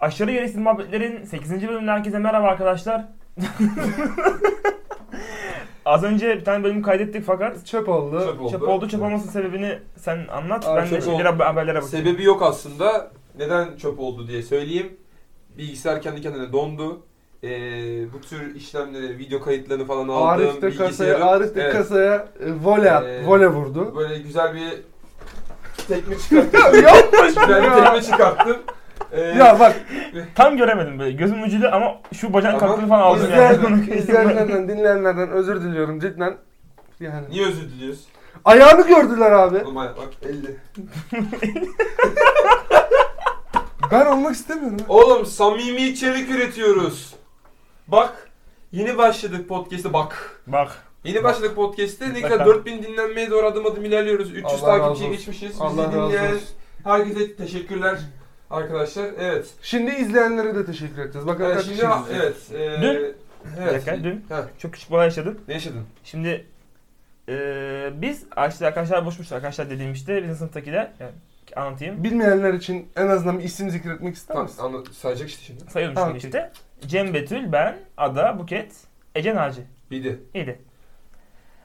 Aşırı Gereksiz Muhabbetlerin 8. bölümünden herkese merhaba arkadaşlar. Az önce bir tane bölümü kaydettik fakat Çöp oldu. Çöp oldu. çöp oldu. Çöp olmasının sebebini sen anlat. Abi ben de çöp şimdi oldu. hab- haberlere bakayım. Sebebi yok aslında. Neden çöp oldu diye söyleyeyim. Bilgisayar kendi kendine dondu. Ee, bu tür işlemleri, video kayıtlarını falan aldığım Arif de kasaya, bilgisayarım- Arif de Evet. kasaya e, vole, at- Ee, vole vurdu. Böyle güzel bir tekme çıkarttım. Yapmış güzel bir ya. tekme çıkarttım. Ee, ya bak Tam göremedim böyle. Gözüm ucuyla ama şu bacağın Ama kalktığını falan aldım yani. izleyen, izleyenlerden, dinleyenlerden özür diliyorum cidden. Yani. niye özür diliyorsun? Ayağını gördüler abi. Oğlum ay- bak 50. Ben olmak istemiyorum. Oğlum samimi içerik üretiyoruz. Bak yeni başladık podcast'e bak. Bak. Yeni başladık podcast'te ne Bak. kadar 4000 dinlenmeye doğru adım adım ilerliyoruz. 300 Allah razı takipçiye olsun. geçmişiz. Bizi Allah razı dinleyen olsun. herkese teşekkürler arkadaşlar. Evet. Şimdi izleyenlere de teşekkür edeceğiz. Bakın Ee, kaç şimdi kişi ha- izleyecek. evet. ee, Dün- Evet. Bir dakika, dün- Ha, Çok küçük bir olay yaşadım. ne yaşadın? Şimdi eee biz işte arkadaşlar boşmuş arkadaşlar dediğim işte bizim sınıftakiler yani anlatayım. Bilmeyenler için en azından bir isim zikretmek ister Tamam. misin? Anlat, sayacak işte şimdi. Sayıyorum Ha, şimdi okey. işte. Cem Betül, ben, Ada, Buket, Ece Naci. Bildi. İyiydi.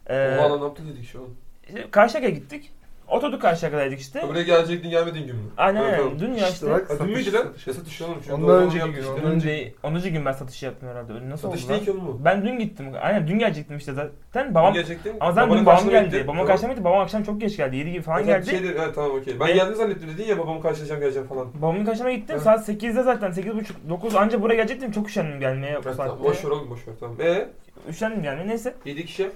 Ee, Ee, Oha lan ne yaptın dedik şu an. işte Karşıyaka'ya gittik. Oturduk Karşıyaka'daydık işte. Buraya gelecektin gelmedin gün mü? Aynen Evet, aynen. tamam. Dün ya İşte işte. bak, Ha, Dün satış, müydü lan? satış. Ya satış oğlum. şu an Ondan doğru onu önceki yaptık gün, işte. ondan- Dün de 10. gün ben satışı yaptım herhalde. Öyle nasıl Satış oldu lan? değil ki oğlum bu. Ben dün gittim. Aynen dün gelecektim işte zaten. Babam Gelecektim. ama zaten dün babam geldi. Babam akşam gitti. Babam akşam çok geç geldi. 7 gibi falan geldi. Şey dedi, evet, tamam okey. Ben Ve- geldim zannettim dedin ya babamı karşılayacağım geleceğim falan. Babamın kaçına gittim. Evet. Saat 8'de zaten 8.30 9 anca buraya gelecektim. Çok üşendim gelmeye bu Evet, saatte. tamam, boş ver oğlum boş ver tamam. Ee, Üşendim gelmeye neyse. 7 kişi.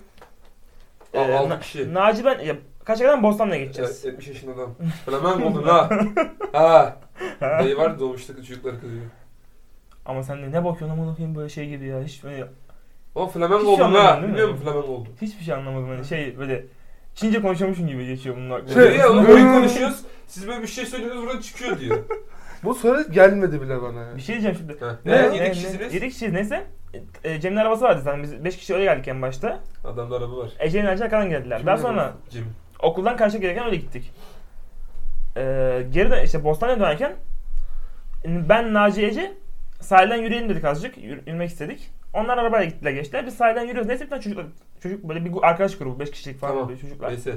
Ee, Aa, altı Na- kişi. Naci ben ya, kaç kadar Bostanlı'ya Evet, geçeceğiz. 70 yaşında adam. Flamen oldun ha. ha. Dayı var doğmuştuk çocukları kızıyor. Ama sen de ne bakıyorsun amına koyayım böyle şey gibi ya. Hiç böyle O flamen Hiç oldun anlamadım ha. değil mi? Biliyor musun flamen oldun? hiçbir şey anlamadım hani şey böyle Çince konuşuyormuşum gibi geçiyor bunun aklına. Şey- Diyor ya oğlum Hmm. oyun konuşuyoruz. Siz böyle bir şey söylüyorsunuz buradan çıkıyor diyor. Bu soru gelmedi bile bana. ya. Bir şey diyeceğim şimdi. Ha. Ne? Ne? Ne- ne- Yedi kişisiniz. Yedi kişiyiz neyse. E, e, Cem'in arabası vardı zaten biz 5 kişi öyle geldik en başta. Adamda araba var. Ece'nin Naci arkadan geldiler. Kim Daha ne sonra bu? Cem. okuldan karşı gelirken öyle gittik. Ee, geri de işte Bostan'a dönerken ben Naci Ece sahilden yürüyelim dedik azıcık. Yür- yürümek istedik. Onlar arabayla gittiler geçtiler. Biz sahilden yürüyoruz. Neyse bir tane çocuklar, çocuk böyle bir gu- arkadaş grubu 5 kişilik falan Tamam. böyle çocuklar. Neyse.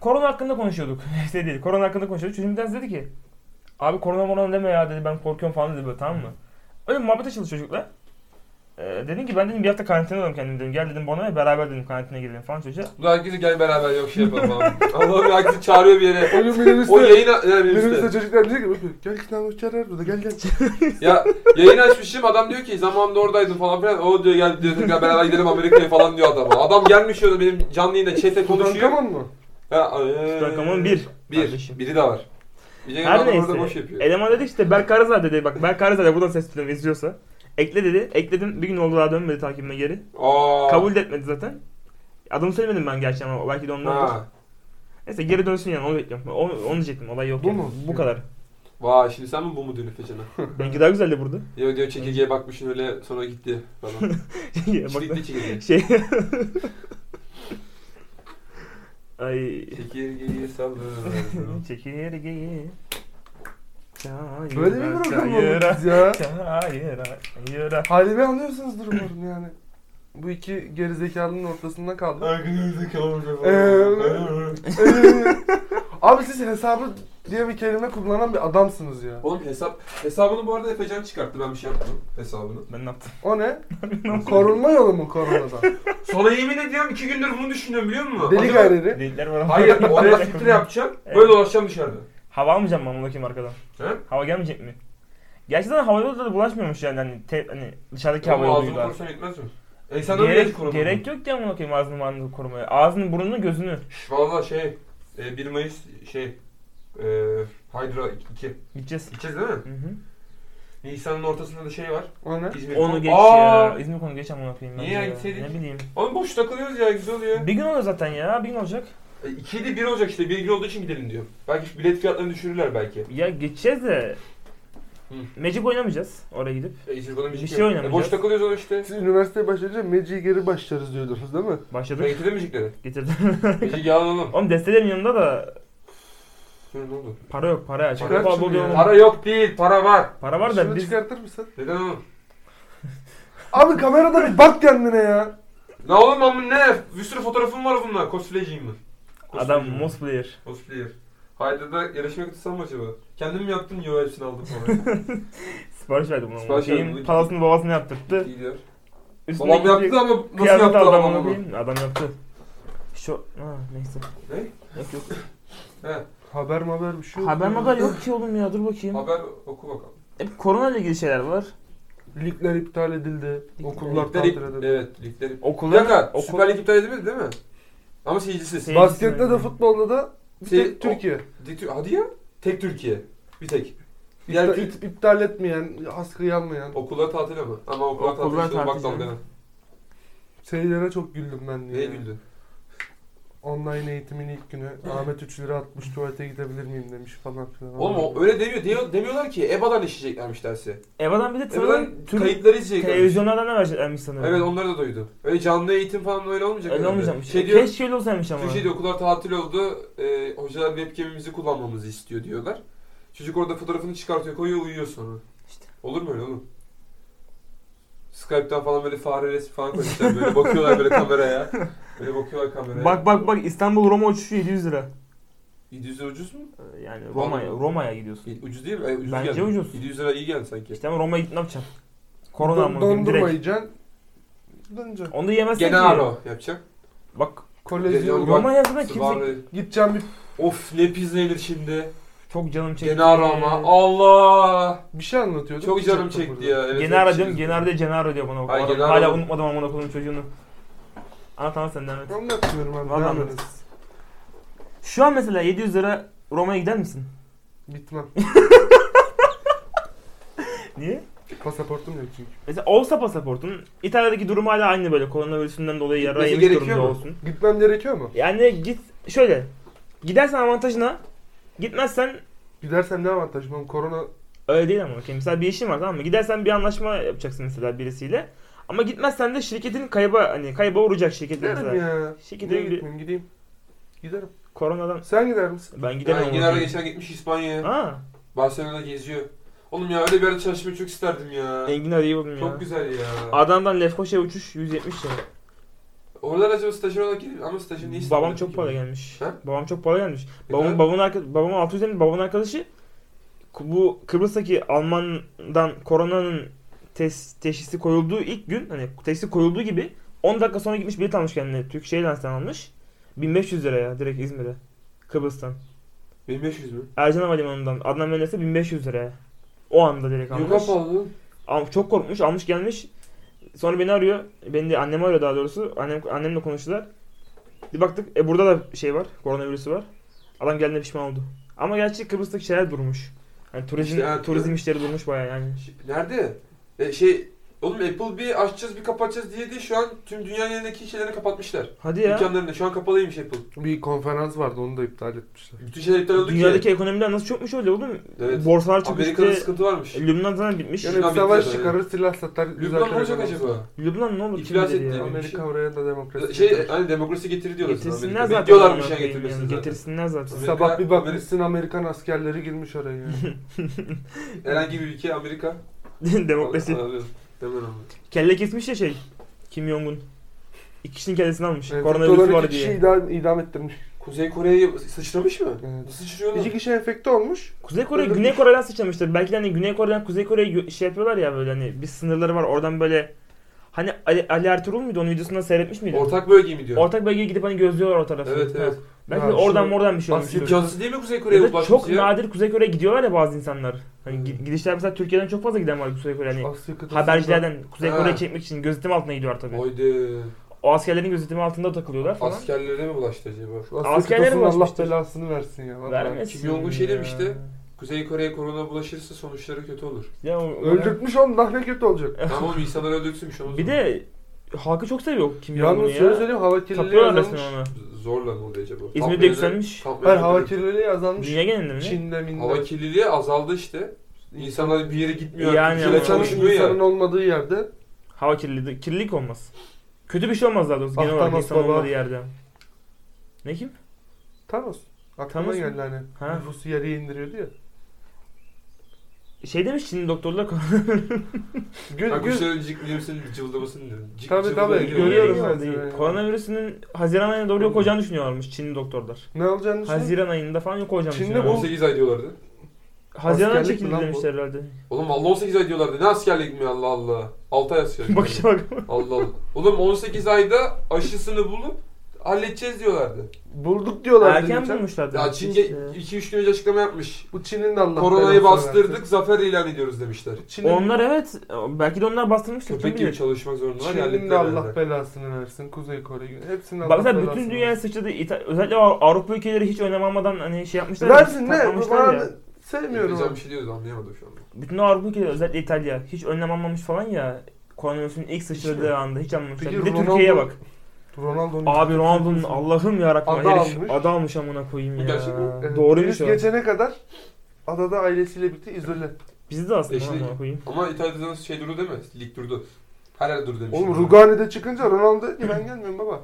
Korona hakkında konuşuyorduk. Neyse değil. Korona hakkında konuşuyorduk. Çocuk bir tanesi dedi ki abi korona morona deme ya dedi ben korkuyorum falan dedi böyle tamam mı? Öyle bir muhabbet açıldı çocukla. Ee, dedim ki ben dedim bir hafta karantinadayım kendim dedim. Gel dedim bana beraber dedim karantinaya girelim falan çocuğa. Bu da herkese gel beraber yok şey yapalım falan. Allah'ım ya, herkesi çağırıyor bir yere. Oyun minibüste, şey- O yayına yani minibüste minibüste. çocuklar diyecek ki gel iki tane uçar burada gel gel. ya yayın açmışım adam diyor ki zamanında oradaydım falan filan. O diyor gel diyor tekrar beraber gidelim Amerika'ya falan diyor adam. Adam gelmiş orada benim canlı yayında chat'e konuşuyor. Tutankamon mu? Ha, ee, Rakamın bir. Bir. Kardeşim. Biri de var. Diyecek Her adam orada boş neyse. yapıyor. Eleman dedi işte Berk Karazar dedi. Bak Berk Karazar buradan ses tutuyorum izliyorsa. Ekle dedi. Ekledim. Bir gün oldu daha dönmedi takibime geri. Aa. Kabul de etmedi zaten. Adımı söylemedim ben gerçi ama belki de ondan. Ha. Neyse geri dönsün yani onu bekliyorum. Onu, onu diyecektim. Olay yok Bu yani. mu? Bu kadar. Vay şimdi sen mi bu mu diyor Efecan'a? Benimki daha güzeldi burada. Diyor diyor çekirgeye bakmışsın öyle sonra gitti falan. Bak da- Çilikli çekirge. şey. Ay. Çekirgeyi sallıyorum. Çekirgeyi. Böyle mi bırakalım ya? Halime anlıyorsunuz durumlarını yani. Bu iki gerizekalının ortasında kaldım. Arkadaşlar Ee, Ee, Abi siz hesabı diye bir kelime kullanan bir adamsınız ya. Oğlum hesap hesabını bu arada Efecan çıkarttı ben bir şey yapmadım hesabını. Ben ne yaptım? O ne? Korunma yolu mu koronada? Sana yemin ediyorum iki gündür bunu düşünüyorum biliyor musun? Deli Acaba- gayriri. Delikler var ama. Hayır onunla filtre yapacağım. Evet. Böyle dolaşacağım dışarıda. Hava almayacağım ben bunu bakayım arkadan. He? Hava gelmeyecek mi? Gerçi zaten hava yolu da bulaşmıyormuş yani hani, te- hani dışarıdaki hava Ama yoluyla. ağzını kursan yetmez mi? E sen de öyle Gerek, koruma. gerek yok diye amına koyayım ağzını burnunu korumaya. Ağzını burnunu gözünü. Valla şey e, 1 Mayıs şey e, Hydra 2. Gideceğiz. Gideceğiz değil mi? Hı hı. Nisan'ın ortasında da şey var. O ne? İzmir. Onu geç ya. Aa! İzmir konu geç amına koyayım. Niye şey bence ya, ya. gitseydik? Ne bileyim. Oğlum boş takılıyoruz ya güzel oluyor. Bir gün olur zaten ya. Bir gün olacak. E, 2 değil 1 olacak işte 1 gün olduğu için gidelim diyor. Belki şu bilet fiyatlarını düşürürler belki. Ya geçeceğiz de. Hı. Magic oynamayacağız oraya gidip. E, İzmir bana Bir müzik şey yok. oynamayacağız. E, boş takılıyoruz oğlum işte. Siz üniversiteye başlayınca Magic'i geri başlarız diyordunuz değil mi? Başladık. Ben getirdim müzikleri. Getirdim. Müzik yalan oğlum. Oğlum destelerin yanında da Sonra ne oldu? Para yok para ya. Çakal Para para yok şimdi buluyor. ya. Para, Para yok değil, para var. para var da Şunu biz çıkartır mısın? Neden oğlum? Abi kamerada bir bak kendine ya. Ne oğlum amın ne? Bir sürü fotoğrafım var bununla. Cosplayciyim ben. adam Cosplayciyim. most player. Cosplayer. Haydi da yarışmaya katılsam mı acaba? Kendim mi yaptım? Yo hepsini aldım falan. Sipariş verdi buna. Sipariş verdi. Şeyin palasını babasını yaptırttı. İyi diyor. Üstüne Babam gidecek yaptı ama nasıl kıyafet yaptı aldı adam amına onu? koyayım. Adam yaptı. Şu ha, neyse. Ne? Yok yok. He. Haber mi haber bir şey yok. Haber ya. haber yok ki oğlum ya dur bakayım. Haber oku bakalım. Hep korona ile ilgili şeyler var. Ligler iptal edildi. Okullar Ligler, tatil edildi. evet ligler. Bir Okullar dakika okul- Süper Lig iptal edilmedi değil mi? Ama seyircisiz. Seyir- Baskette de futbolda da bir Şey, tek Türkiye. Dik- Tür- Hadi ya. Tek Türkiye. Bir tek. Diğer İptal, Türk- it- iptal etmeyen, askı yanmayan. Okullar tatil ama. Ama okullar tatil Okullar işte o tatil lockdown canım. denen. Şeylere çok güldüm ben diye. Neye ya. güldün? Online eğitimin ilk günü Ahmet 3 lira atmış tuvalete gidebilir miyim demiş falan filan. Oğlum o öyle demiyor. diyor- Demiyorlar ki "E, EBA'dan işleyeceklermiş dersi. Evadan bir de EBA'dan tırmanın Türk kayıtları izleyeceklermiş. televizyonlardan da vereceklermiş sanırım. Evet onları da duydum. Öyle canlı eğitim falan öyle olmayacak. Öyle herhalde. olmayacakmış. E, Şey diyor, Keşke öyle olsaymış ama. Türkiye'de okullar tatil oldu. E, hocalar webcam'imizi kullanmamızı istiyor diyorlar. Çocuk orada fotoğrafını çıkartıyor, koyuyor, uyuyor sonra. İşte. Olur mu öyle oğlum? Skype'tan falan böyle fare resmi falan koymuşlar böyle bakıyorlar böyle kameraya. Böyle bakıyorlar kameraya. Bak bak bak İstanbul Roma uçuşu 700 lira. 700 lira ucuz mu? Ee, Yani Vallahi. Roma'ya Roma'ya gidiyorsun. İyi- Ucuz değil mi? Ay, ucuz Bence geldi. ucuz. 700 lira iyi geldi sanki. İşte ama Roma'ya gidip ne yapacaksın? Korona Don, mı? diyeyim dondurma Direkt. yiyeceksin. Döneceksin. Onu da yemezsin ki. Genaro yapacak. Bak Koleji Geliyorum. Roma. Roma'ya zaten kimse... Kimse... Gideceğim bir, Of ne pizza yenir şimdi. Çok canım çekti. Ee, Genaro ama. Allah. bir şey anlatıyordum. Çok canım Gidecektim çekti ya. Evet, Genaro evet, diyorum. şimdi- Genaro diyor. Genaro diyor bana. Bak, Hayır, adam- Gennaro- Hala unutmadım amına koyduğum çocuğunu. Anlat anlat sen devam et. burada. Anlatmıyorum abi. Vallahi devam edin. Şu an mesela 700 lira Roma'ya gider misin? Gitmem. Niye? Pasaportum yok çünkü. Mesela olsa pasaportun İtalya'daki durum hala aynı böyle koronavirüsünden dolayı yara Gitmesi yemiş gerekiyor durumda mu? olsun. Gitmem gerekiyor mu? Yani git şöyle. Gidersen avantajına, gitmezsen Gidersem ne avantajım? Oğlum korona öyle değil ama. okey. Mesela bir işin var tamam mı? Gidersen bir anlaşma yapacaksın mesela birisiyle. Ama gitmezsen de şirketin kayba hani kayba uğrayacak şirketin giderim mesela. ya. Şirketin Niye bir- gitmeyeyim gideyim. Giderim. Koronadan Sen gider misin? ben gidemem. Yani Genaro geçen gitmiş İspanya'ya. Ha, Barcelona'da geziyor. Oğlum ya öyle bir yerde çalışmayı çok isterdim ya. Engin arayı buldum ya. Çok güzel ya. Adamdan Lefkoşa'ya uçuş 170 lira. Oralar acaba stajyer olarak gidip ama stajyer ne istiyor? Babam çok para gelmiş. Ha? Babam çok para gelmiş. Ne Babam, kadar? babamın, arka, babamın 600 lira babamın arkadaşı Ku- bu Kıbrıs'taki Alman'dan koronanın tes, teşhisi koyulduğu ilk gün hani teşhisi koyulduğu gibi 10 dakika sonra gitmiş bilet almış kendine. Türk Airlines'ten almış. 1500 liraya direkt İzmir'e. Kıbrıs'tan. 1500 mü? Ercan Havalimanı'ndan. Adnan Menderes'e 1500 liraya. O anda direkt almış. Yok lan pahalı. Al- çok korkmuş. Almış gelmiş. Sonra beni arıyor. Beni de annem arıyor daha doğrusu. Annem annemle konuştular. Bir baktık e burada da şey var. Koronavirüsü var. Adam geldiğinde pişman oldu. Ama gerçi Kıbrıs'taki şeyler durmuş. Hani turizm İşte, evet, turizm evet. işleri durmuş bayağı yani. Ş- Nerede? E, şey Oğlum Apple bir açacağız bir kapatacağız diye diye şu an tüm dünyanın elindeki şeylerini kapatmışlar. Hadi ya. Dükkanlarını şu an kapalıymış Apple. Bir konferans vardı onu da iptal etmişler. Bütün şeyler iptal oldu Dünyadaki ki. ekonomiler nasıl çökmüş öyle oğlum? Evet. Borsalar çökmüş. Amerika'da işte. sıkıntı varmış. Lübnan zaten bitmiş. Yani Şuna bir savaş bitti çıkarır silah satar. güzel Lübnan ne olacak karar alır. acaba? Lübnan ne olur kim İflas bilir etti. ya. Amerika oraya da demokrasi Şey getirir. hani demokrasi getir diyorlar. sana Getirsinler Amerika'da. zaten. Bekliyorlar bir amına şey koyayım getirmesini yani, zaten. Getirsinler zaten. Amerika- Sabah bir bakmışsın Amerikan askerleri girmiş oraya. ya. Herhangi bir ülke Amerika. Demokrasi. Anlıyorum. Hemen anlıyorum. Kelle kesmiş ya şey. Kim Jong-un. İki kişinin kellesini almış. Evet, Koronavirüs doları Şey, var iki kişi diye. idam, idam ettirmiş. Kuzey Kore'ye sıçramış mı? Evet. Nasıl sıçrıyor lan? İki kişi enfekte olmuş. Kuzey Kore, Öyle Güney bir- Kore'den sıçramıştır. Belki de hani Güney Kore'den Kuzey Kore'ye gö- şey yapıyorlar ya böyle hani bir sınırları var oradan böyle hani Ali, Ali Ertuğrul muydu onun videosunda seyretmiş miydin? Ortak bölge mi diyor? Ortak bölgeye gidip hani gözlüyorlar o tarafı. Evet, evet. Ha. Belki de Ha, oradan şu- oradan bir şey Asya- olmuştur. Cadısı değil mi Kuzey Kore'ye Ya da ulaşmış çok ya? nadir Kuzey Kore'ye gidiyorlar ya bazı insanlar. Hani Hmm. gi- gidişler mesela Türkiye'den çok fazla giden var Kuzey Kore'ye. Hani Asya kıtasında- habercilerden Kuzey Ha. Kore'yi çekmek için gözetim altına gidiyorlar tabii. Haydi. O askerlerin gözetimi altında takılıyorlar falan. Askerlere mi bulaştı acaba? Şu Asya Askerlere kıtasının Allah bulaşmıştır. belasını versin ya. vallahi. Vermesin Kim Jong-un şey ya. demişti. Kuzey Kore'ye korona bulaşırsa sonuçları kötü olur. Ya, o- Öldürtmüş oğlum daha ne kötü olacak. tamam insanlar öldürsün bir şey olmaz. Bir de halkı çok seviyor Kim Jong-un'u Yalnız ya. şöyle söyleyeyim hava kirliliği Tapıyorlar azalmış. resmen ona. Zorla ne oluyor acaba? İzmir'de Tatmin'e de- yükselmiş. Tatmin'e Hayır de- hava kirliliği azalmış. Dünya genelinde mi? Çin'de minde. Hava kirliliği azaldı işte. İnsanlar bir yere gitmiyor. Yani Yani ama- artık. İnsanın, çalışmıyor ya. insanın olmadığı yerde Hava kirliliği, kirlilik olmaz. Kötü bir şey olmaz daha doğrusu genel Ah, olarak Thanos insan baba. olmadığı yerde. Ne kim? Thanos. Aklıma Tanımaz mı? geldi hani. Ha. Nüfusu yarıya indiriyordu ya. Şey demiş Çinli doktorlar Gül, Bak gül. kuşların cıklamasını, cıvıldamasını diyorum. Cık Tabii, cıvılda tabii, geliyor. Görüyorum Yayın ben oldu. seni. Koronavirüsünün Haziran ayına doğru yok olacağını düşünüyorlarmış Çinli doktorlar. Ne olacağını düşündün? Haziran ayında falan yok olacağını Çin'de düşünüyorlar. 18 ay diyorlardı. Haziran ayı Askerlik mi çekildi lan bu? demişler herhalde. Oğlum valla 18 ay diyorlardı. Ne askerlik mi Allah Allah. 6 ay askerlik. Bakışa bak. Allah Allah. Oğlum 18 ayda aşısını bulup halledeceğiz diyorlardı. Bulduk diyorlar. Erken dedim. bulmuşlar Ya demek Çin işte. 2-3 gün önce açıklama yapmış. Bu Çin'in de Allah Koronayı belasını bastırdık, versin. zafer ilan ediyoruz demişler. Çin'in, Onlar evet. Belki de onlar bastırmıştır. Köpek Kim gibi bilir. çalışmak zorundalar ya. Çin'in de hallettiler Allah herhalde. belasını versin. Kuzey Kore gibi. Hepsinin Allah Baksana belasını bütün dünyaya versin. sıçradı. İta- özellikle Av- Avrupa ülkeleri hiç önem almadan hani şey yapmışlar. ya, Versin ne? Bu patlamışlar bana ya. da- sevmiyorum. İngilizcem onu. bir şey diyoruz anlayamadım şu anda. Bütün Avrupa ülkeleri özellikle İtalya hiç önlem almamış falan ya. Koronavirüsün ilk Hiç mi? sıçradığı anda hiç almamışlar. bir Peki de Ronaldo- Türkiye'ye bak. şey. Ronaldo'nun Abi Ronaldo'nun Allah'ım yarabbim Ada herif almış. E, ada almış amına koyayım ya. şey Gerçek mi? Evet, Doğruymuş virüs o. Ee, geçene kadar adada ailesiyle birlikte izole. Bizi de aslında Eşli- amına koyayım. Ama İtalya'da şey durdu değil mi? Lig durdu. Her yer durdu demiş. Oğlum Rugani'de çıkınca Ronaldo dedi ki ben gelmiyorum baba.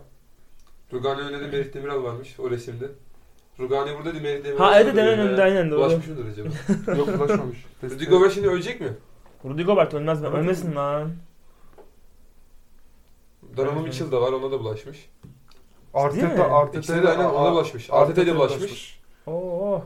Rugani önünde Merih Demiral varmış o resimde. Rugani burada değil Merih Demiral. Ha orada evet duruyor demin ya. önünde aynen doğru. Ulaşmış mıdır acaba? Yok ulaşmamış. Testi- Rudy Gobert şimdi ölecek mi? Rudy Gobert ölmez mi? Ölmesin lan. Donovan Evet. Mitchell da var ona da bulaşmış. Değil mi? Arteta, Arteta İkisi de aynen ona bulaşmış. Arteta da bulaşmış. Oo.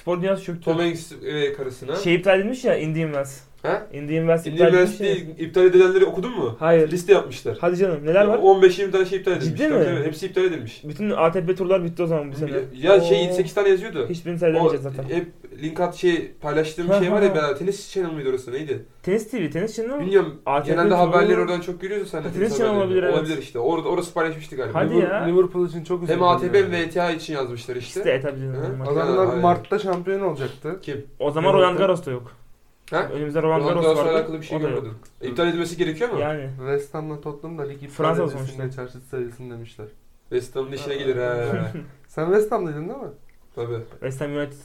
Spor dünyası çöktü. Tom Hanks e, karısına. Şey iptal edilmiş ya Indian Wells. He? Indian Wells iptal Indian edilmiş ya. Wells'te iptal edilenleri okudun mu? Hayır. Liste yapmışlar. Hadi canım neler var? 15-20 tane şey iptal edilmiş. Ciddi Tabii mi? tabii, Hepsi iptal edilmiş. Bütün ATP turlar bitti o zaman bu sene. Ya şey Oo. 8 tane yazıyordu. Hiçbirini O, seyredemeyeceğiz zaten. hep link at şey paylaştığım Ha, şey ha, var ya ha. ben tenis channel mıydı orası neydi? Tenis TV, tenis Channel mı? Bilmiyorum. ATP genelde turnuva- haberleri oradan çok görüyorsun sen de. Ha, tenis tenis channel haberlerini. olabilir, evet. Olabilir işte. Orada orası paylaşmıştı galiba. Hadi Liver- ya. Liverpool için çok üzüldüm. Hem ATP hem yani. VTA için yazmışlar işte. İşte e, tabii canım. Hı? normal. Adamlar Aynen. Mart'ta şampiyon olacaktı. Kim? O zaman Roland Garros da yok. Ha? Önümüzde Roland Roland Garros Garros'la vardı. alakalı bir şey o da yok. görmedim. İptal edilmesi gerekiyor mu? Yani. West Ham'la Tottenham da lig iptal Fransa edilsin sonuçta. çarşı sayılsın demişler. West Ham'ın işine Ha. gelir ha. Sen West Ham'daydın değil mi? Tabii. West Ham United.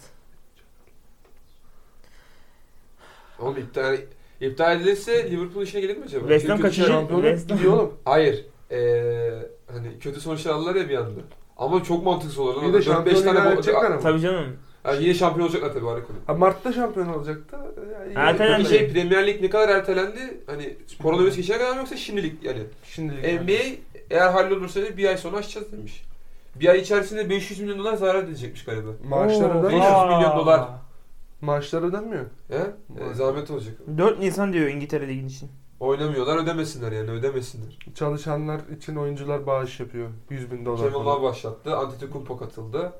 Oğlum iptal iptal edilirse Liverpool işine gelir mi acaba? West Çünkü Ham kötü şey- kaçıncı? Şampiyonluk West Ham. gidiyor oğlum. Hayır. Ee, hani kötü sonuçlar aldılar ya bir anda. Ama çok mantıksız olur. Bir de şampiyon ilan edecekler ama. Tabii canım. Ha, yine şampiyon olacaklar tabii harika. Ha, Mart'ta şampiyon olacaktı. Yani Ertelendi. Peki şey Premier Lig ne kadar ertelendi? Hani koronavirüs geçene kadar mı yoksa şimdilik yani? Şimdilik. NBA eğer hallolursa da bir ay sonra açacağız demiş. Bir ay içerisinde 500 milyon dolar zarar edilecekmiş galiba. Maaşları Oo, ödenmiyor. aa. milyon dolar. Maaşları ödenmiyor. He? Evet. E, zahmet olacak. 4 Nisan diyor İngiltere Ligi'nin için. Oynamıyorlar ödemesinler yani ödemesinler. Çalışanlar için oyuncular bağış yapıyor. 100 bin dolar. Kemal falan. Love başlattı. Antetokounmpo katıldı.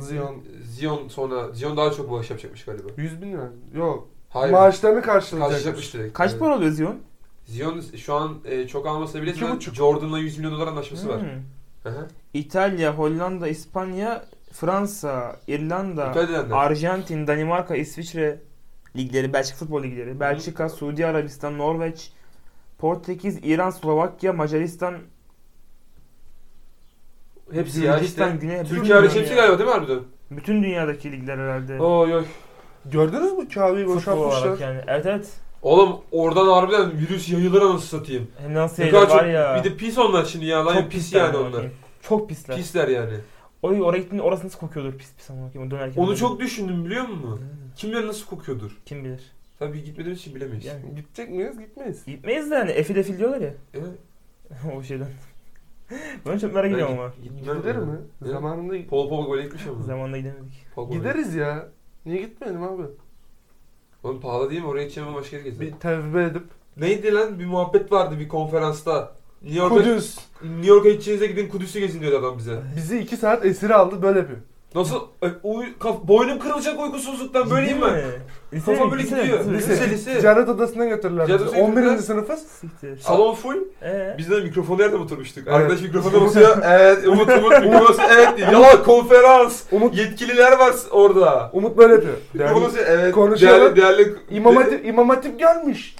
Zion. Zion sonra Zion daha çok bağış yapacakmış galiba. 100 bin lira. Yok. Hayır. Maaşlarını karşılayacakmış karşılayacakmış. direkt. Kaç Evet. para oluyor Zion? Zion şu an e, çok almasa bile İki zaten buçuk. Jordan'la 100 milyon dolar anlaşması var. Hmm. Hı hı. İtalya, Hollanda, İspanya, Fransa, İrlanda, İptal edilenler. Arjantin, Danimarka, İsviçre ligleri, Belçika futbol ligleri, Belçika, Suudi Arabistan, Norveç, Portekiz, İran, Slovakya, Macaristan, Hepsi ya Gürcistan, işte. Güney, bütün Türkiye hariç dünya hepsi ya. galiba değil mi harbiden? Bütün dünyadaki ligler herhalde. Oy oy. Gördünüz mü Kabe'yi Futbol olarak boşaltmışlar. yani. Evet evet. Oğlum oradan harbiden virüs yayılır anasını satayım. Hem nasıl Ne yayılır kadar çok, var ya. bir de pis onlar şimdi ya. Lan pis pisler yani amına onlar. koyayım. Çok pisler. Pisler yani. Oy oraya gittiğinde orası nasıl kokuyordur pis pis ama kim dönerken. Onu çok düşündüm biliyor musun? Kim bilir nasıl kokuyordur. kim bilir. Tabii gitmediğimiz için bilemeyiz. Yani Gidecek miyiz? Gitmeyiz. gitmeyiz de hani efi defil diyorlar ya. E, o şeyden. ben çok merak ben ediyorum git- ama. gitmem Gider yani. mi? Ne? Zamanında gi- Pol Pogba gol etmiş ama. Zamanında gidemedik. Pol Pogba. gideriz ya. Niye gitmeyelim abi? Oğlum pahalı değil mi? Oraya gideceğim ama başka yere Bir gideceğim. tevbe edip. Neydi lan? Bir muhabbet vardı bir konferansta. New York'a, Kudüs. New York'a gideceğinize gidin Kudüs'ü gezin diyordu adam bize. Bizi iki saat esir aldı böyle yapıyor. Nasıl? E, uy- kaf- boynum kırılacak uykusuzluktan böyleyim Ciddi ben. mi? Lise Kafam mi? böyle Lise mi? gidiyor. Lise mi? Lise, lise. Ticaret odasına götürürler Ticaret bizi. odasına 11. götürürler. sınıfız. Siktir. Salon full. Ee? Biz de mikrofonu nerede oturmuştuk? Evet. Arkadaş mikrofona basıyor. Evet, Umut Umut mikrofonu basıyor. Evet diyor. Ya konferans. Umut Yetkililer var orada. Umut böyle yapıyor. Mikrofonu basıyor. Evet. Konuşuyorlar. Değerli, değerli. İmam Hatip, İmam Hatip gelmiş.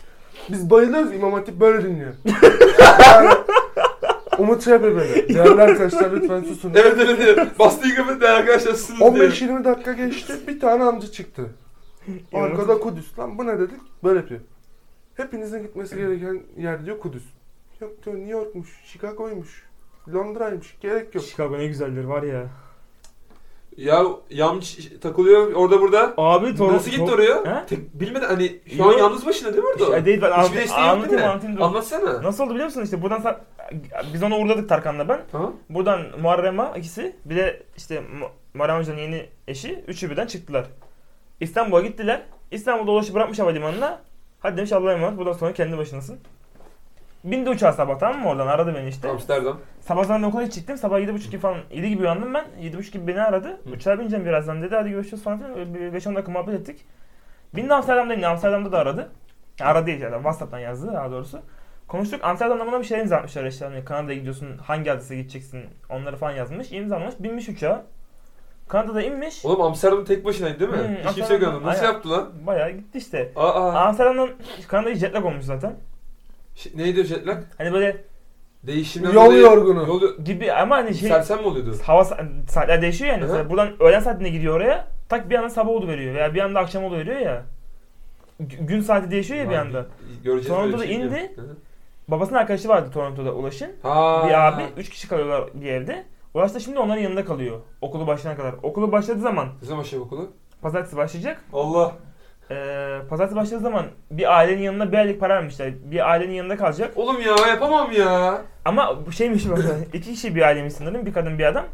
Biz bayılıyoruz İmam Hatip böyle dinliyor. Yani, Umut şey yapıyor böyle. Değerli arkadaşlar lütfen susun. Evet evet evet. Bastı mikrofonu değerli arkadaşlar sınız diyor. 15-20 dakika geçti bir tane amca çıktı. Arkada Kudüs lan bu ne dedik böyle yapıyor. Hepinizin gitmesi gereken yer diyor Kudüs. Yok diyor New York'muş, Chicago'ymuş, Londra'ymış gerek yok. Chicago ne güzeldir var ya. Ya yamç takılıyor orada burada. Abi torun... Nasıl gitti oraya? He? Tek, bilmeden hani şu an Yok. yalnız başına değil mi orada? Şey, değil ben Hiçbir anlatayım, desteği yok değil anlatayım, mi? anlatayım, dur. Anlatsana. Nasıl oldu biliyor musun işte buradan sa- biz ona uğurladık Tarkan'la ben. Tamam. Buradan Muharrem'a ikisi bir de işte Mu- Muharrem Hoca'nın yeni eşi üçü birden çıktılar. İstanbul'a gittiler. İstanbul'da ulaşı bırakmış havalimanına. Hadi demiş Allah'a emanet buradan sonra kendi başınasın. Bindi uçağa sabah tamam mı oradan aradı beni işte. Amsterdam. Sabah zaten okula hiç çıktım. Sabah 7.30 gibi falan 7 gibi uyandım ben. 7.30 gibi beni aradı. Hı. Uçağa bineceğim birazdan dedi. Hadi görüşürüz falan filan. Böyle bir 5-10 dakika muhabbet ettik. Bindi Amsterdam'da indi. Amsterdam'da da aradı. Ya Aradı değil yani. WhatsApp'tan yazdı daha doğrusu. Konuştuk. Amsterdam'da bana bir şeyler imzalamışlar işte. Hani Kanada'ya gidiyorsun. Hangi adrese gideceksin? Onları falan yazmış. İmzalamış. Binmiş uçağa. Kanada'da inmiş. Oğlum Amsterdam tek başınaydı değil mi? Hmm, Hiç kimse yok Amsterdam. yanında. Nasıl Aynen. yaptı lan? Bayağı gitti işte. Aa, aa. Amsterdam'dan Kanada'ya jet lag olmuş zaten. Şey, neydi o jet lag? Hani böyle Değişimden Yol dolayı- yorgunu. Yol yo- gibi ama hani şey... Sersem mi oluyordu? hava sa- saatler değişiyor yani. Hı hı. Mesela buradan öğlen saatinde gidiyor oraya. Tak bir anda sabah oldu veriyor veya bir anda akşam oldu veriyor ya. Gü- Gün saati değişiyor ya Şey bir Vay, anda. Göreceğiz Sonra böyle da bir şey. indi. Hı hı. Babasının arkadaşı vardı Toronto'da Ulaş'ın. Ha. Bir abi, üç kişi kalıyorlar bir evde. Ulaş da şimdi onların yanında kalıyor. Okulu başlayana kadar. Okulu başladığı zaman Ne zaman şey okulu? pazartesi başlayacak. Allah. Ee, pazartesi başladığı zaman bir ailenin yanına bir aylık para vermişler. Bir ailenin yanında kalacak. Oğlum ya yapamam ya. Ama bu şeymiş böyle. iki kişi bir ailemiş sanırım. Bir kadın bir adam.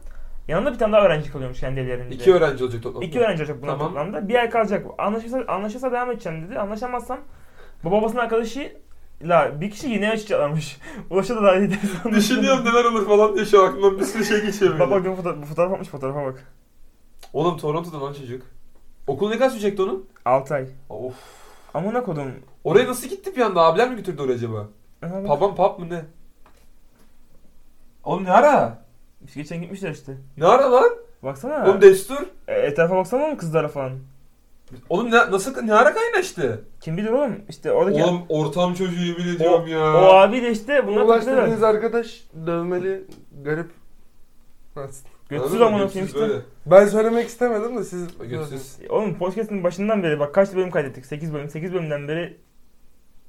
Yanında bir tane daha öğrenci kalıyormuş kendi evlerinde. İki öğrenci olacak toplamda. İki öğrenci olacak buna Tamam. toplamda. Bir ay kalacak. Anlaşırsa, anlaşırsa devam edeceğim dedi. Anlaşamazsam bu babasının arkadaşı la bir kişi yine açacaklarmış. Ulaş'a da dahil ederiz. Düşünüyorum neler olur falan diye şu an aklımdan bir sürü şey geçiyor. Bak bak böyle. bu fotoğraf, bu fotoğraf atmış fotoğrafa bak. Oğlum Toronto'da lan çocuk. Okul ne kadar sürecekti onun? 6 ay. Of. Amına kodum. Ee, Oraya nasıl gitti bir anda? Abiler mi götürdü oraya acaba? Aha bak. Papam pap mı ne? Oğlum ne ara? Geçen gitmişler işte. Ne ara lan? Baksana. Oğlum destur. E, etrafa baksana oğlum kızlara falan. Oğlum ne, nasıl ne ara kaynaştı? Kim bilir oğlum işte oradaki... Oğlum ortam çocuğu yemin ediyorum ya. O abi de işte bunlar Ulaş takılıyorlar. dediğiniz arkadaş dövmeli, garip. Nasıl? Götsüz Anladın mı? amına Götsüz koyayım işte. böyle. Ben söylemek istemedim de siz... Götsüz. Oğlum podcast'ın başından beri bak kaç bölüm kaydettik? 8 bölüm. 8 bölümden beri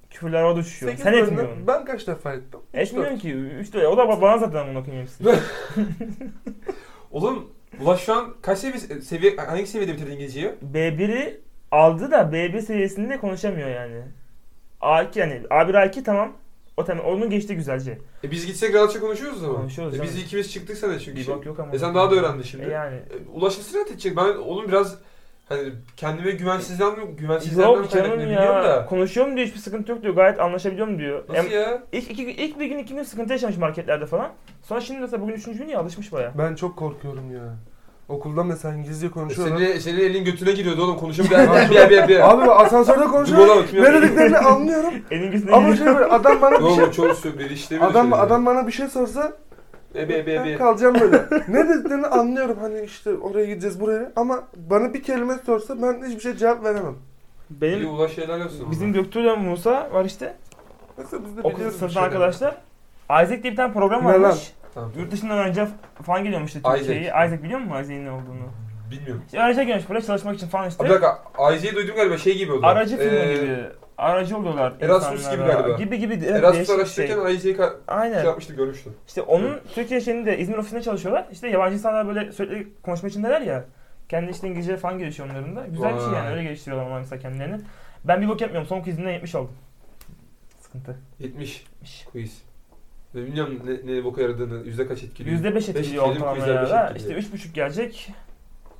küfürler orada uçuşuyor. Sekiz Sen bölümde etmiyorsun. Ben kaç defa ettim? Etmiyorum ki. Üç de, o da ba- bana zaten bunu okuyayım hepsini. Oğlum Ulaş şu an kaç seviye, seviye hangi seviyede bitirdin İngilizceyi? B1'i aldı da B1 seviyesinde konuşamıyor yani. A2 yani A1 A2 tamam. O tamam. Onun geçti güzelce. E biz gitsek rahatça konuşuyoruz o zaman. Konuşuyoruz E biz canım. ikimiz çıktık sana çünkü. Bir bak yok ama. E sen daha da öğrendin şimdi. E yani. E, Ulaş'ın silah edecek. Ben onun biraz hani kendime güvensizden mi güvensizlenmem Yok kaynaklı canım bilmiyorum ya. da. Konuşuyorum diyor hiçbir sıkıntı yok diyor. Gayet anlaşabiliyorum diyor. Nasıl Em- ya? İlk, iki, ilk bir gün iki gün sıkıntı yaşamış marketlerde falan. Sonra şimdi mesela bugün üçüncü gün ya alışmış baya. Ben çok korkuyorum ya. Okulda mesela İngilizce konuşuyorlar. Senin, senin elin götüne giriyordu oğlum konuşamıyor. bir yer bir yer bir yer. Abi asansörde Duvara konuşuyorlar. bakıyor. ne dediklerini anlıyorum. Elin gözüne Ama giriyor. şey böyle adam bana bir Yok şey... yok çok sürpriz işte. Adam, adam bana bir şey sorsa Ebe ebe ben ebe. kalacağım böyle. ne dediklerini anlıyorum hani işte oraya gideceğiz buraya ama bana bir kelime sorsa ben hiçbir şey cevap veremem. İyi Benim ulaş şeyler yapsın. bizim Göktuğ'la Musa var işte. Mesela biz de Okul biliyoruz bir sınıfta şeyler. arkadaşlar. Isaac diye bir tane program Ne lan? varmış. Tamam. Yurt dışından öğrenci falan geliyormuş işte Isaac. Türkiye'ye. Isaac. biliyor musun Isaac'in ne olduğunu? Bilmiyorum. İşte öğrenciler gelmiş buraya çalışmak için falan işte. Abi bir dakika. Ayze'yi duydum galiba şey gibi o da. Aracı filmi Ee, gibi. Aracı oluyorlar Erasmus insanlara. gibi galiba. Gibi gibi. Evet, değişik Erasmus bir araştırırken şey. Ayze'yi ka- şey Aynen. yapmıştım görmüştüm. İşte onun Türkiye şeyinde İzmir ofisinde çalışıyorlar. İşte yabancı insanlar böyle sürekli konuşma içindeler ya. Kendi işte İngilizce falan gelişiyor onların da. Güzel bir şey Vay. yani öyle geliştiriyorlar onlar mesela kendilerini. Ben bir bok yapmıyorum. Son quizimden 70 oldum. Sıkıntı. 70 quiz. Ve bilmiyorum ne, ne boka yaradığını, yüzde kaç etkiliyor. %5 Beş etkiliyor etkili mi, ortalama quizler beş ya. etkili. İşte 3.5 gelecek.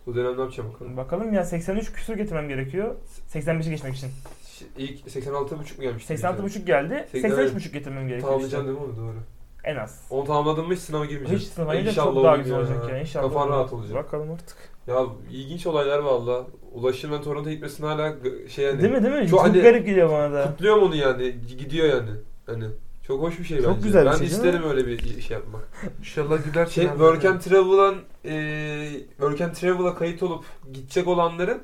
Bu dönem ne yapacağım bakalım. Bakalım ya 83 küsur getirmem gerekiyor. 85'e geçmek için. Ş- İlk 86,5 mu gelmişti? 86,5 geldi. Seksen- 83,5 getirmem gerekiyor. işte. Tamamlayacaksın değil mi onu doğru. En az. Onu tamamladın mı hiç sınava girmeyeceksin. Hiç sınava girince İnşallah çok daha olur güzel olacak ya. İnşallah. Kafan olur. rahat olacak. Bakalım artık. Ya ilginç olaylar valla. Ulaş'ın ben Toronto'ya gitmesine hala g- şey yani. değil mi değil mi? Çok Çok, hani- garip geliyor bana da. Kutluyorum onu yani. G- Gidiyor yani. Hani çok hoş bir şey Çok bence. güzel bir ben şey, değil isterim öyle bir şey yapmak. İnşallah gider. Şey, Work and Travel'dan eee Work and Travel'a kayıt olup gidecek olanların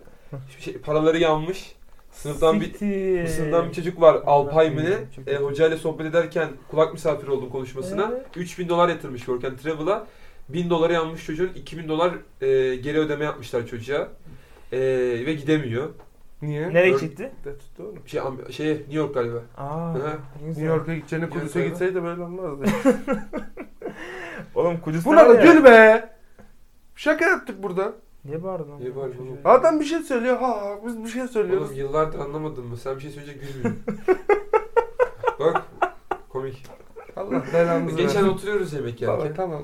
şey, paraları yanmış. Sınıftan bir Siktir. Mısır'dan bir çocuk var Alpay mı ne? Çok E, iyi. hocayla sohbet ederken kulak misafiri oldum konuşmasına. Evet. 3000 dolar yatırmış Work and Travel'a. 1000 doları yanmış çocuğun 2000 dolar e, geri ödeme yapmışlar çocuğa. E, ve gidemiyor. Niye? Nereye Ör- gitti? De tuttu oğlum. Şey, am- şey New York galiba. Aa. Hı. ne New güzel. York'a gideceğine Kudüs'e York'a- gitseydi böyle olmazdı. Oğlum Kudüs'te Buna da var ya. gül be. Şaka yaptık burada. Niye bağırdın? oğlum? Niye bağırıyorsun oğlum? Adam bir şey söylüyor. Ha ha biz bir şey söylüyoruz. Oğlum yıllardır anlamadın mı? Sen bir şey söyleyecek gülmüyorsun. Bak komik. Allah belanızı Geçen versin. oturuyoruz yemek Baba yerken. tamam.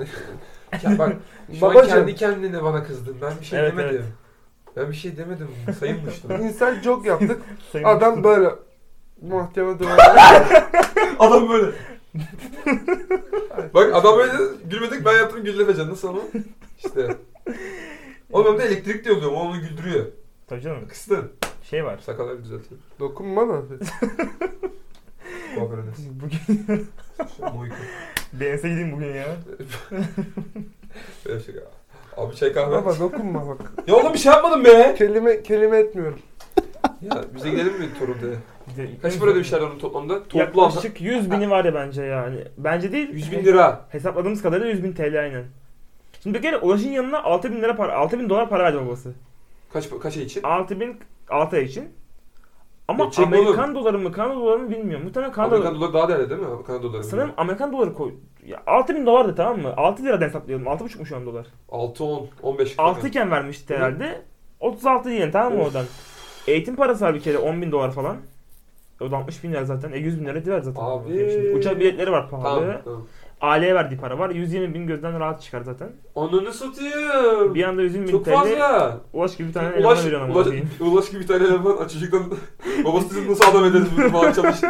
Ya bak şu an Babacım. kendi kendine bana kızdın. Ben bir şey Evet, demedim. evet. Ben bir şey demedim. Sayılmıştım. İnsan çok yaptık. Sayın Adam Müslüm. böyle mahkeme duvarına adam böyle. bak adam böyle dedi, gülmedik ben yaptım güldürmeyeceğim. Nasıl ama? İşte. Oğlum ben de elektrik diye oluyorum. Onu güldürüyor. Tabii canım. Kıstın. Şey var. Sakalları düzeltiyorum. dokunma da. Kuaföre nasıl? Bugün Moyku. BNS'e gideyim bugün ya. Böyle şey ya. Abi çay kahve. Baba dokunma bak. Ya oğlum bir şey yapmadım be. Kelime kelime etmiyorum. Ya bize gidelim mi Toronto'ya? Gide- Kaç para ödemişler onun toplamda? Toplam. Yaklaşık 100 bini var ya bence yani. Bence değil. 100 bin lira. Hesapladığımız kadarıyla 100 bin TL aynen. Şimdi bir kere Ulaş'ın yanına 6 bin lira para, 6 bin dolar para verdi babası. Kaç kaç ay için? 6 bin, 6 ay için. Ama Çek oğlum. Amerikan doları mı, Kanada doları mı bilmiyorum. Muhtemelen Kanada Amerikan doları. doları daha değerli değil mi? Kanada doları. Sanırım Amerikan doları koy. Ya 6 bin dolardı tamam mı? 6 liradan hesaplayalım. 6,5 mu şu an dolar? 6 10 15 6 iken vermişti Hı. herhalde. 36 diyelim tamam mı Of. oradan? Eğitim parası var bir kere 10 bin dolar falan. O da 60 bin lira zaten. E 100 bin lira diver zaten. Abi. Şimdi uçak biletleri var pahalı. Tamam, tamam. Aileye verdiği para var. 120 bin gözden rahat çıkar zaten. Onu ne satayım? Bir anda 120 bin Çok TL fazla. Ulaş gibi bir tane eleman Ulaş, veriyorsun ama. ulaş, diyeyim. ulaş gibi bir tane eleman açıcıktan babası dedim nasıl adam ederiz bunu falan çalıştı.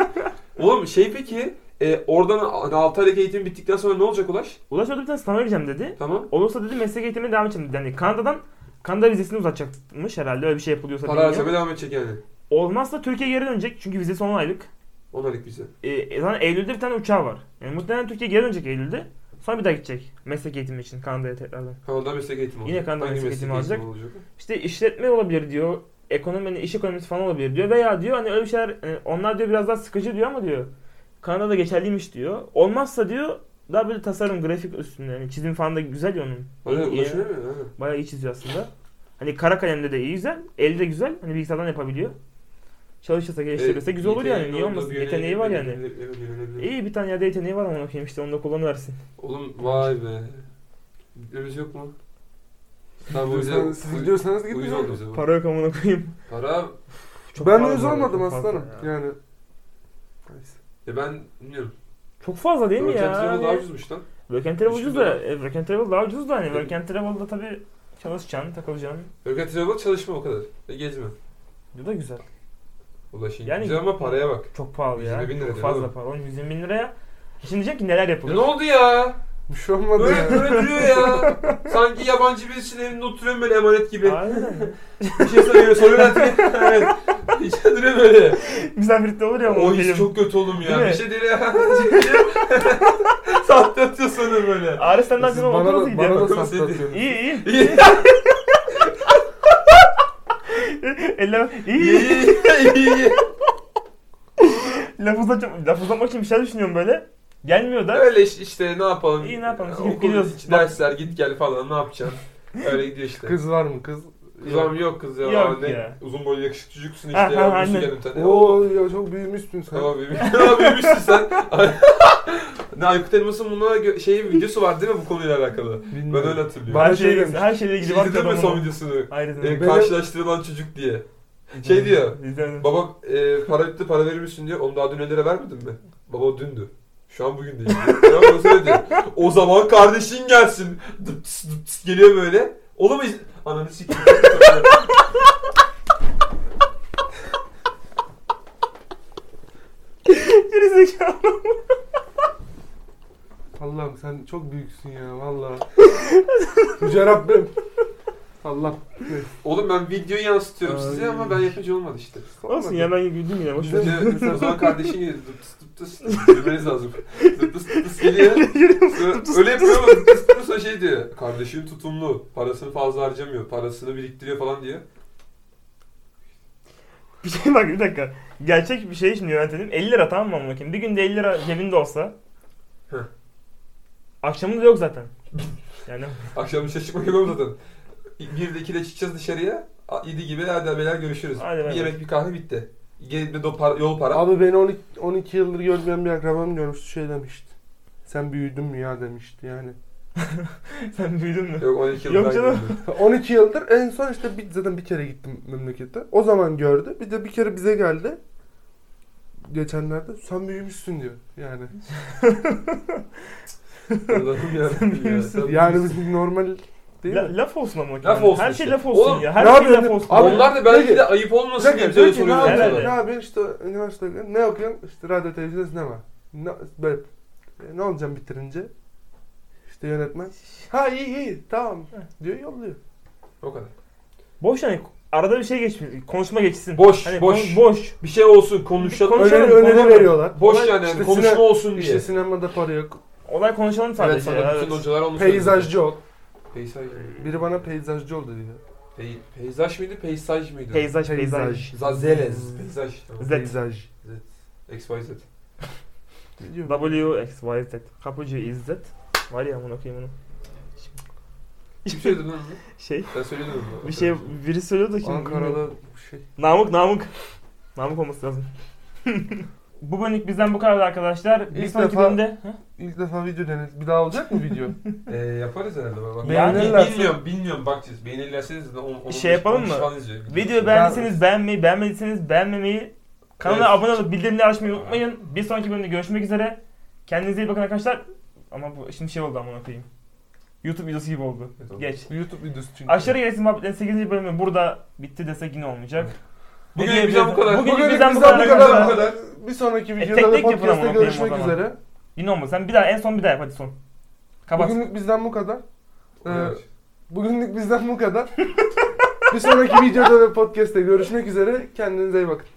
Oğlum şey peki e, oradan 6 aylık eğitim bittikten sonra ne olacak Ulaş? Ulaş orada bir tane sınava gireceğim dedi. Tamam. Olursa dedi meslek eğitimine devam edeceğim dedi. Yani Kanada'dan Kanada vizesini uzatacakmış herhalde öyle bir şey yapılıyorsa Para bilmiyorum. harcamaya devam edecek yani. Olmazsa Türkiye'ye geri dönecek çünkü vizesi 10 aylık. 10 aylık bize. E, zaten Eylül'de bir tane uçağı var. Yani muhtemelen Türkiye geri dönecek Eylül'de. Sonra bir daha gidecek meslek eğitimi için Kanada'ya tekrardan. Kanada meslek eğitimi olacak. Yine Kanada Hangi meslek eğitimi olacak? İşte işletme olabilir diyor. Ekonomi, hani iş ekonomisi falan olabilir diyor. Veya diyor hani öyle bir şeyler hani onlar diyor biraz daha sıkıcı diyor ama diyor Kanada'da geçerliymiş diyor. Olmazsa diyor daha böyle tasarım, grafik üstünde. Yani çizim falan da güzel ya onun. Öyle İyi- ulaşıyor mu? Ha. Bayağı iyi çiziyor aslında. Hani kara kalemde de iyi güzel. Eli de güzel. Hani bilgisayardan yapabiliyor. Çalışırsa geliştirirse güzel E, olur yani. Niye olmasın? Yeteneği var yani. İyi bir tane yerde yeteneği var ama okuyayım işte onu da kullanıversin. Oğlum vay be. Önümüz yok mu? Tamam o yüzden Gidiyorsanız, siz gidiyorsanız uyuz oldu gitmeyin. bize bu. Para yok amına koyayım. Para Çok Ben fazla uyuz bu arada, olmadım çok fazla aslanım. ya. Yani. ya ben bilmiyorum. Çok fazla değil mi Work and ya? travel Hani- daha ucuzmuş lan. Work and Travel Üç ucuz bin da, dolar. e, Work and Travel daha ucuz da hani Evet. Work and Travel'da tabii çalışacaksın, takılacaksın. Work and travel çalışma o kadar. E gezme. Bu da güzel. Ulaşın. Yani- Güzel ama paraya bak. Çok pahalı ya. 120 bin lira Çok değil mi? fazla para. Oğlum 120 bin liraya. Şimdi diyeceksin ki neler Ya yapılır? ne oldu ya? Bir şey olmadı Böyle ya. böyle duruyor ya. Sanki yabancı birisinin evinde oturuyorum böyle emanet gibi. Aynen. Bir şey soruyor, soruyor artık. evet. İşte duruyor böyle. Misafirlikte olur ya ama O his film. çok kötü oğlum Değil ya. mi? Bir şey değil ya. Sahte atıyor sanırım böyle. Arif senden Siz sonra bana otururdu da, bana gidiyor. da Bakın saklatıyorsunuz. İyi iyi. İyi, Elle iyi. iyi. iyi, iyi. Laf uzatacağım. Laf uzatmak için bir şey düşünüyorum böyle. Gelmiyor da. Öyle iş- işte ne yapalım. İyi, ne yapalım? Ya, Gidip okul gidiyoruz. içi dersler git gel falan ne yapacaksın? Öyle gidiyor işte. Kız. Kız var mı kız? Kızım yok kız ya. Yok ne- ya. Uzun boylu yakışıklı çocuksun işte Ha, ha, ya. Bulmuşsun aynen. gel bir tane. Oo E, ya çok büyümüşsün sen. Tamam bebeğim. Tamam bebeğimsin sen. ne Aykut Elmas'ın buna gö- şey videosu var değil mi bu konuyla alakalı? Bilmiyorum. Ben öyle hatırlıyorum. Bana her şey şeyle demiş. her şeyle ilgili şey var izledin mi adamın. son videosunu? Hayret E, ederim. Benim- karşılaştırılan çocuk diye. şey diyor. İzlemedim. Babam e, para bitti para verir misin diyor. Onu daha dün 50 lira vermedin mi? Baba o dündü. Şu an bugün değil. Tamam mı? Söyle diyor. O zaman kardeşin gelsin. Dıp tıs dıp tıs geliyor böyle. Oğlum iz- Ananı sikeyim. Geri zekalı. Allah'ım sen çok büyüksün ya valla. Yüce Rabbim. Allah. Oğlum ben videoyu yansıtıyorum size Ay. ama ben yapıcı olmadı işte. Olsun ya ben güldüm yine. Boş ver. Şimdi o zaman kardeşin geliyor. Dıp tıs dıp tıs. Gülmeniz lazım. Dıp tıs dıp tıs geliyor. Sonra Öyle yapıyor ama dıp tıs dıp tıs sonra şey diyor. Kardeşim tutumlu. Parasını fazla harcamıyor. Parasını biriktiriyor falan diyor. Bir şey bak bir dakika. Gerçek bir şey şimdi yöneltelim. 50 lira tamam mı amına koyayım? Bir günde 50 lira cebinde olsa. Hı. Akşamı da yok zaten. Yani Akşam dışarı çıkmak yok oğlum zaten. Bir de iki de çıkacağız dışarıya. A- Yedi gibi hadi beyler görüşürüz. Hadi bir bay yemek bir kahve bitti. Gelip de do- para- yol para. Abi beni 12, 12 yıldır görmeyen bir akrabam görmüştü şey demişti. Sen büyüdün mü ya demişti yani. Sen büyüdün mü? Yok 12 yıl Yok daha canım. geldim. 12 yıldır en son işte bir, zaten bir kere gittim memlekete. O zaman gördü. Bir de bir kere bize geldi. Geçenlerde sen büyümüşsün diyor yani. Allah'ım yarabbim ya. Sen Yani biz normal değil La- mi? laf olsun ama. Laf yani. olsun Her şey işte. laf olsun Oğlum, ya. Her ne şey laf yapıyorsun? olsun. Abi- ya. Onlar da belki Peki. de ayıp olmasın diye Peki, böyle diyor ki ne soruyorlar. yapıyorsun? yapıyorsun? Evet. Ne yapıyorsun? İşte üniversitede ne okuyorsun? İşte radyo televizyon sinema. Ne, böyle, e, ne olacağım bitirince? İşte yönetmen. Ha iyi iyi tamam diyor yolluyor. O kadar. Boş yani. Arada bir şey geçmiyor. Konuşma geçsin. Boş, boş. kon- boş. Bir şey olsun konuşalım. Konuş- Öneri, Konuşalım, öneri konuşalım. veriyorlar. Boş Ulan yani, işte konuşma sine- olsun diye. İşte sinemada para yok. Olay konuşalım Evet, sadece. sana ya, bütün evet. hocalar onu söyledi. Peyzajcı ol. Peyzaj. Biri bana peyzajcı ol dedi ya. Pey- peyzaj mıydı, peyzaj mıydı? Peyzaj, peyzaj. Peyzaj. Zazelez. Peyzaj. Tamam. Z. Peyzaj. XYZ. Biliyor musun? W, X, Y, Z. Kapıcı, İzzet. Var ya bunu okuyayım bunu. Kim söyledi lan bunu? Şey, Ben söyledim onu. bir şey, biri söylüyordu ki. Ankara'da bir şey. Namık, Namık. Namık olması lazım. bu bölümlük bizden bu kadar arkadaşlar. Bir İlk sonraki defa- bölümde... Hı? İlk defa video deneriz. Bir daha olacak mı video? Ee, yaparız herhalde. Bak. Yani- Yani, bilmiyorum, bilmiyorum. Bakacağız. Beğenirlerseniz de on, on, Şey yapalım on mı? falan izleyecek. Videoyu beğendiyseniz beğenmeyi, beğenmediyseniz beğenmemeyi, kanala Evet. abone olup bildirimleri açmayı unutmayın. Bir sonraki bölümde görüşmek üzere. Kendinize iyi bakın arkadaşlar. Ama bu şimdi şey oldu amına koyayım. YouTube videosu gibi oldu. Evet, oldu. Geç. YouTube videosu çünkü. Aşırı gereksiz muhabbetlerin 8. bölümü burada bitti desek yine olmayacak. Bugün Ne bizden bu kadar. diyebiliriz? Bugün, Bugünlük bizden bu kadar. kadar. Bir sonraki tek videoda tek ve E, yapın ama podcast'ta bakayım o görüşmek zaman. üzere. Yine olmaz. Sen bir daha en son bir daha yap hadi son. Kapat. Bugünlük bizden bu kadar. Ee, Evet. bugünlük bizden bu kadar. bir sonraki videoda ve podcast'te görüşmek üzere. Kendinize iyi bakın.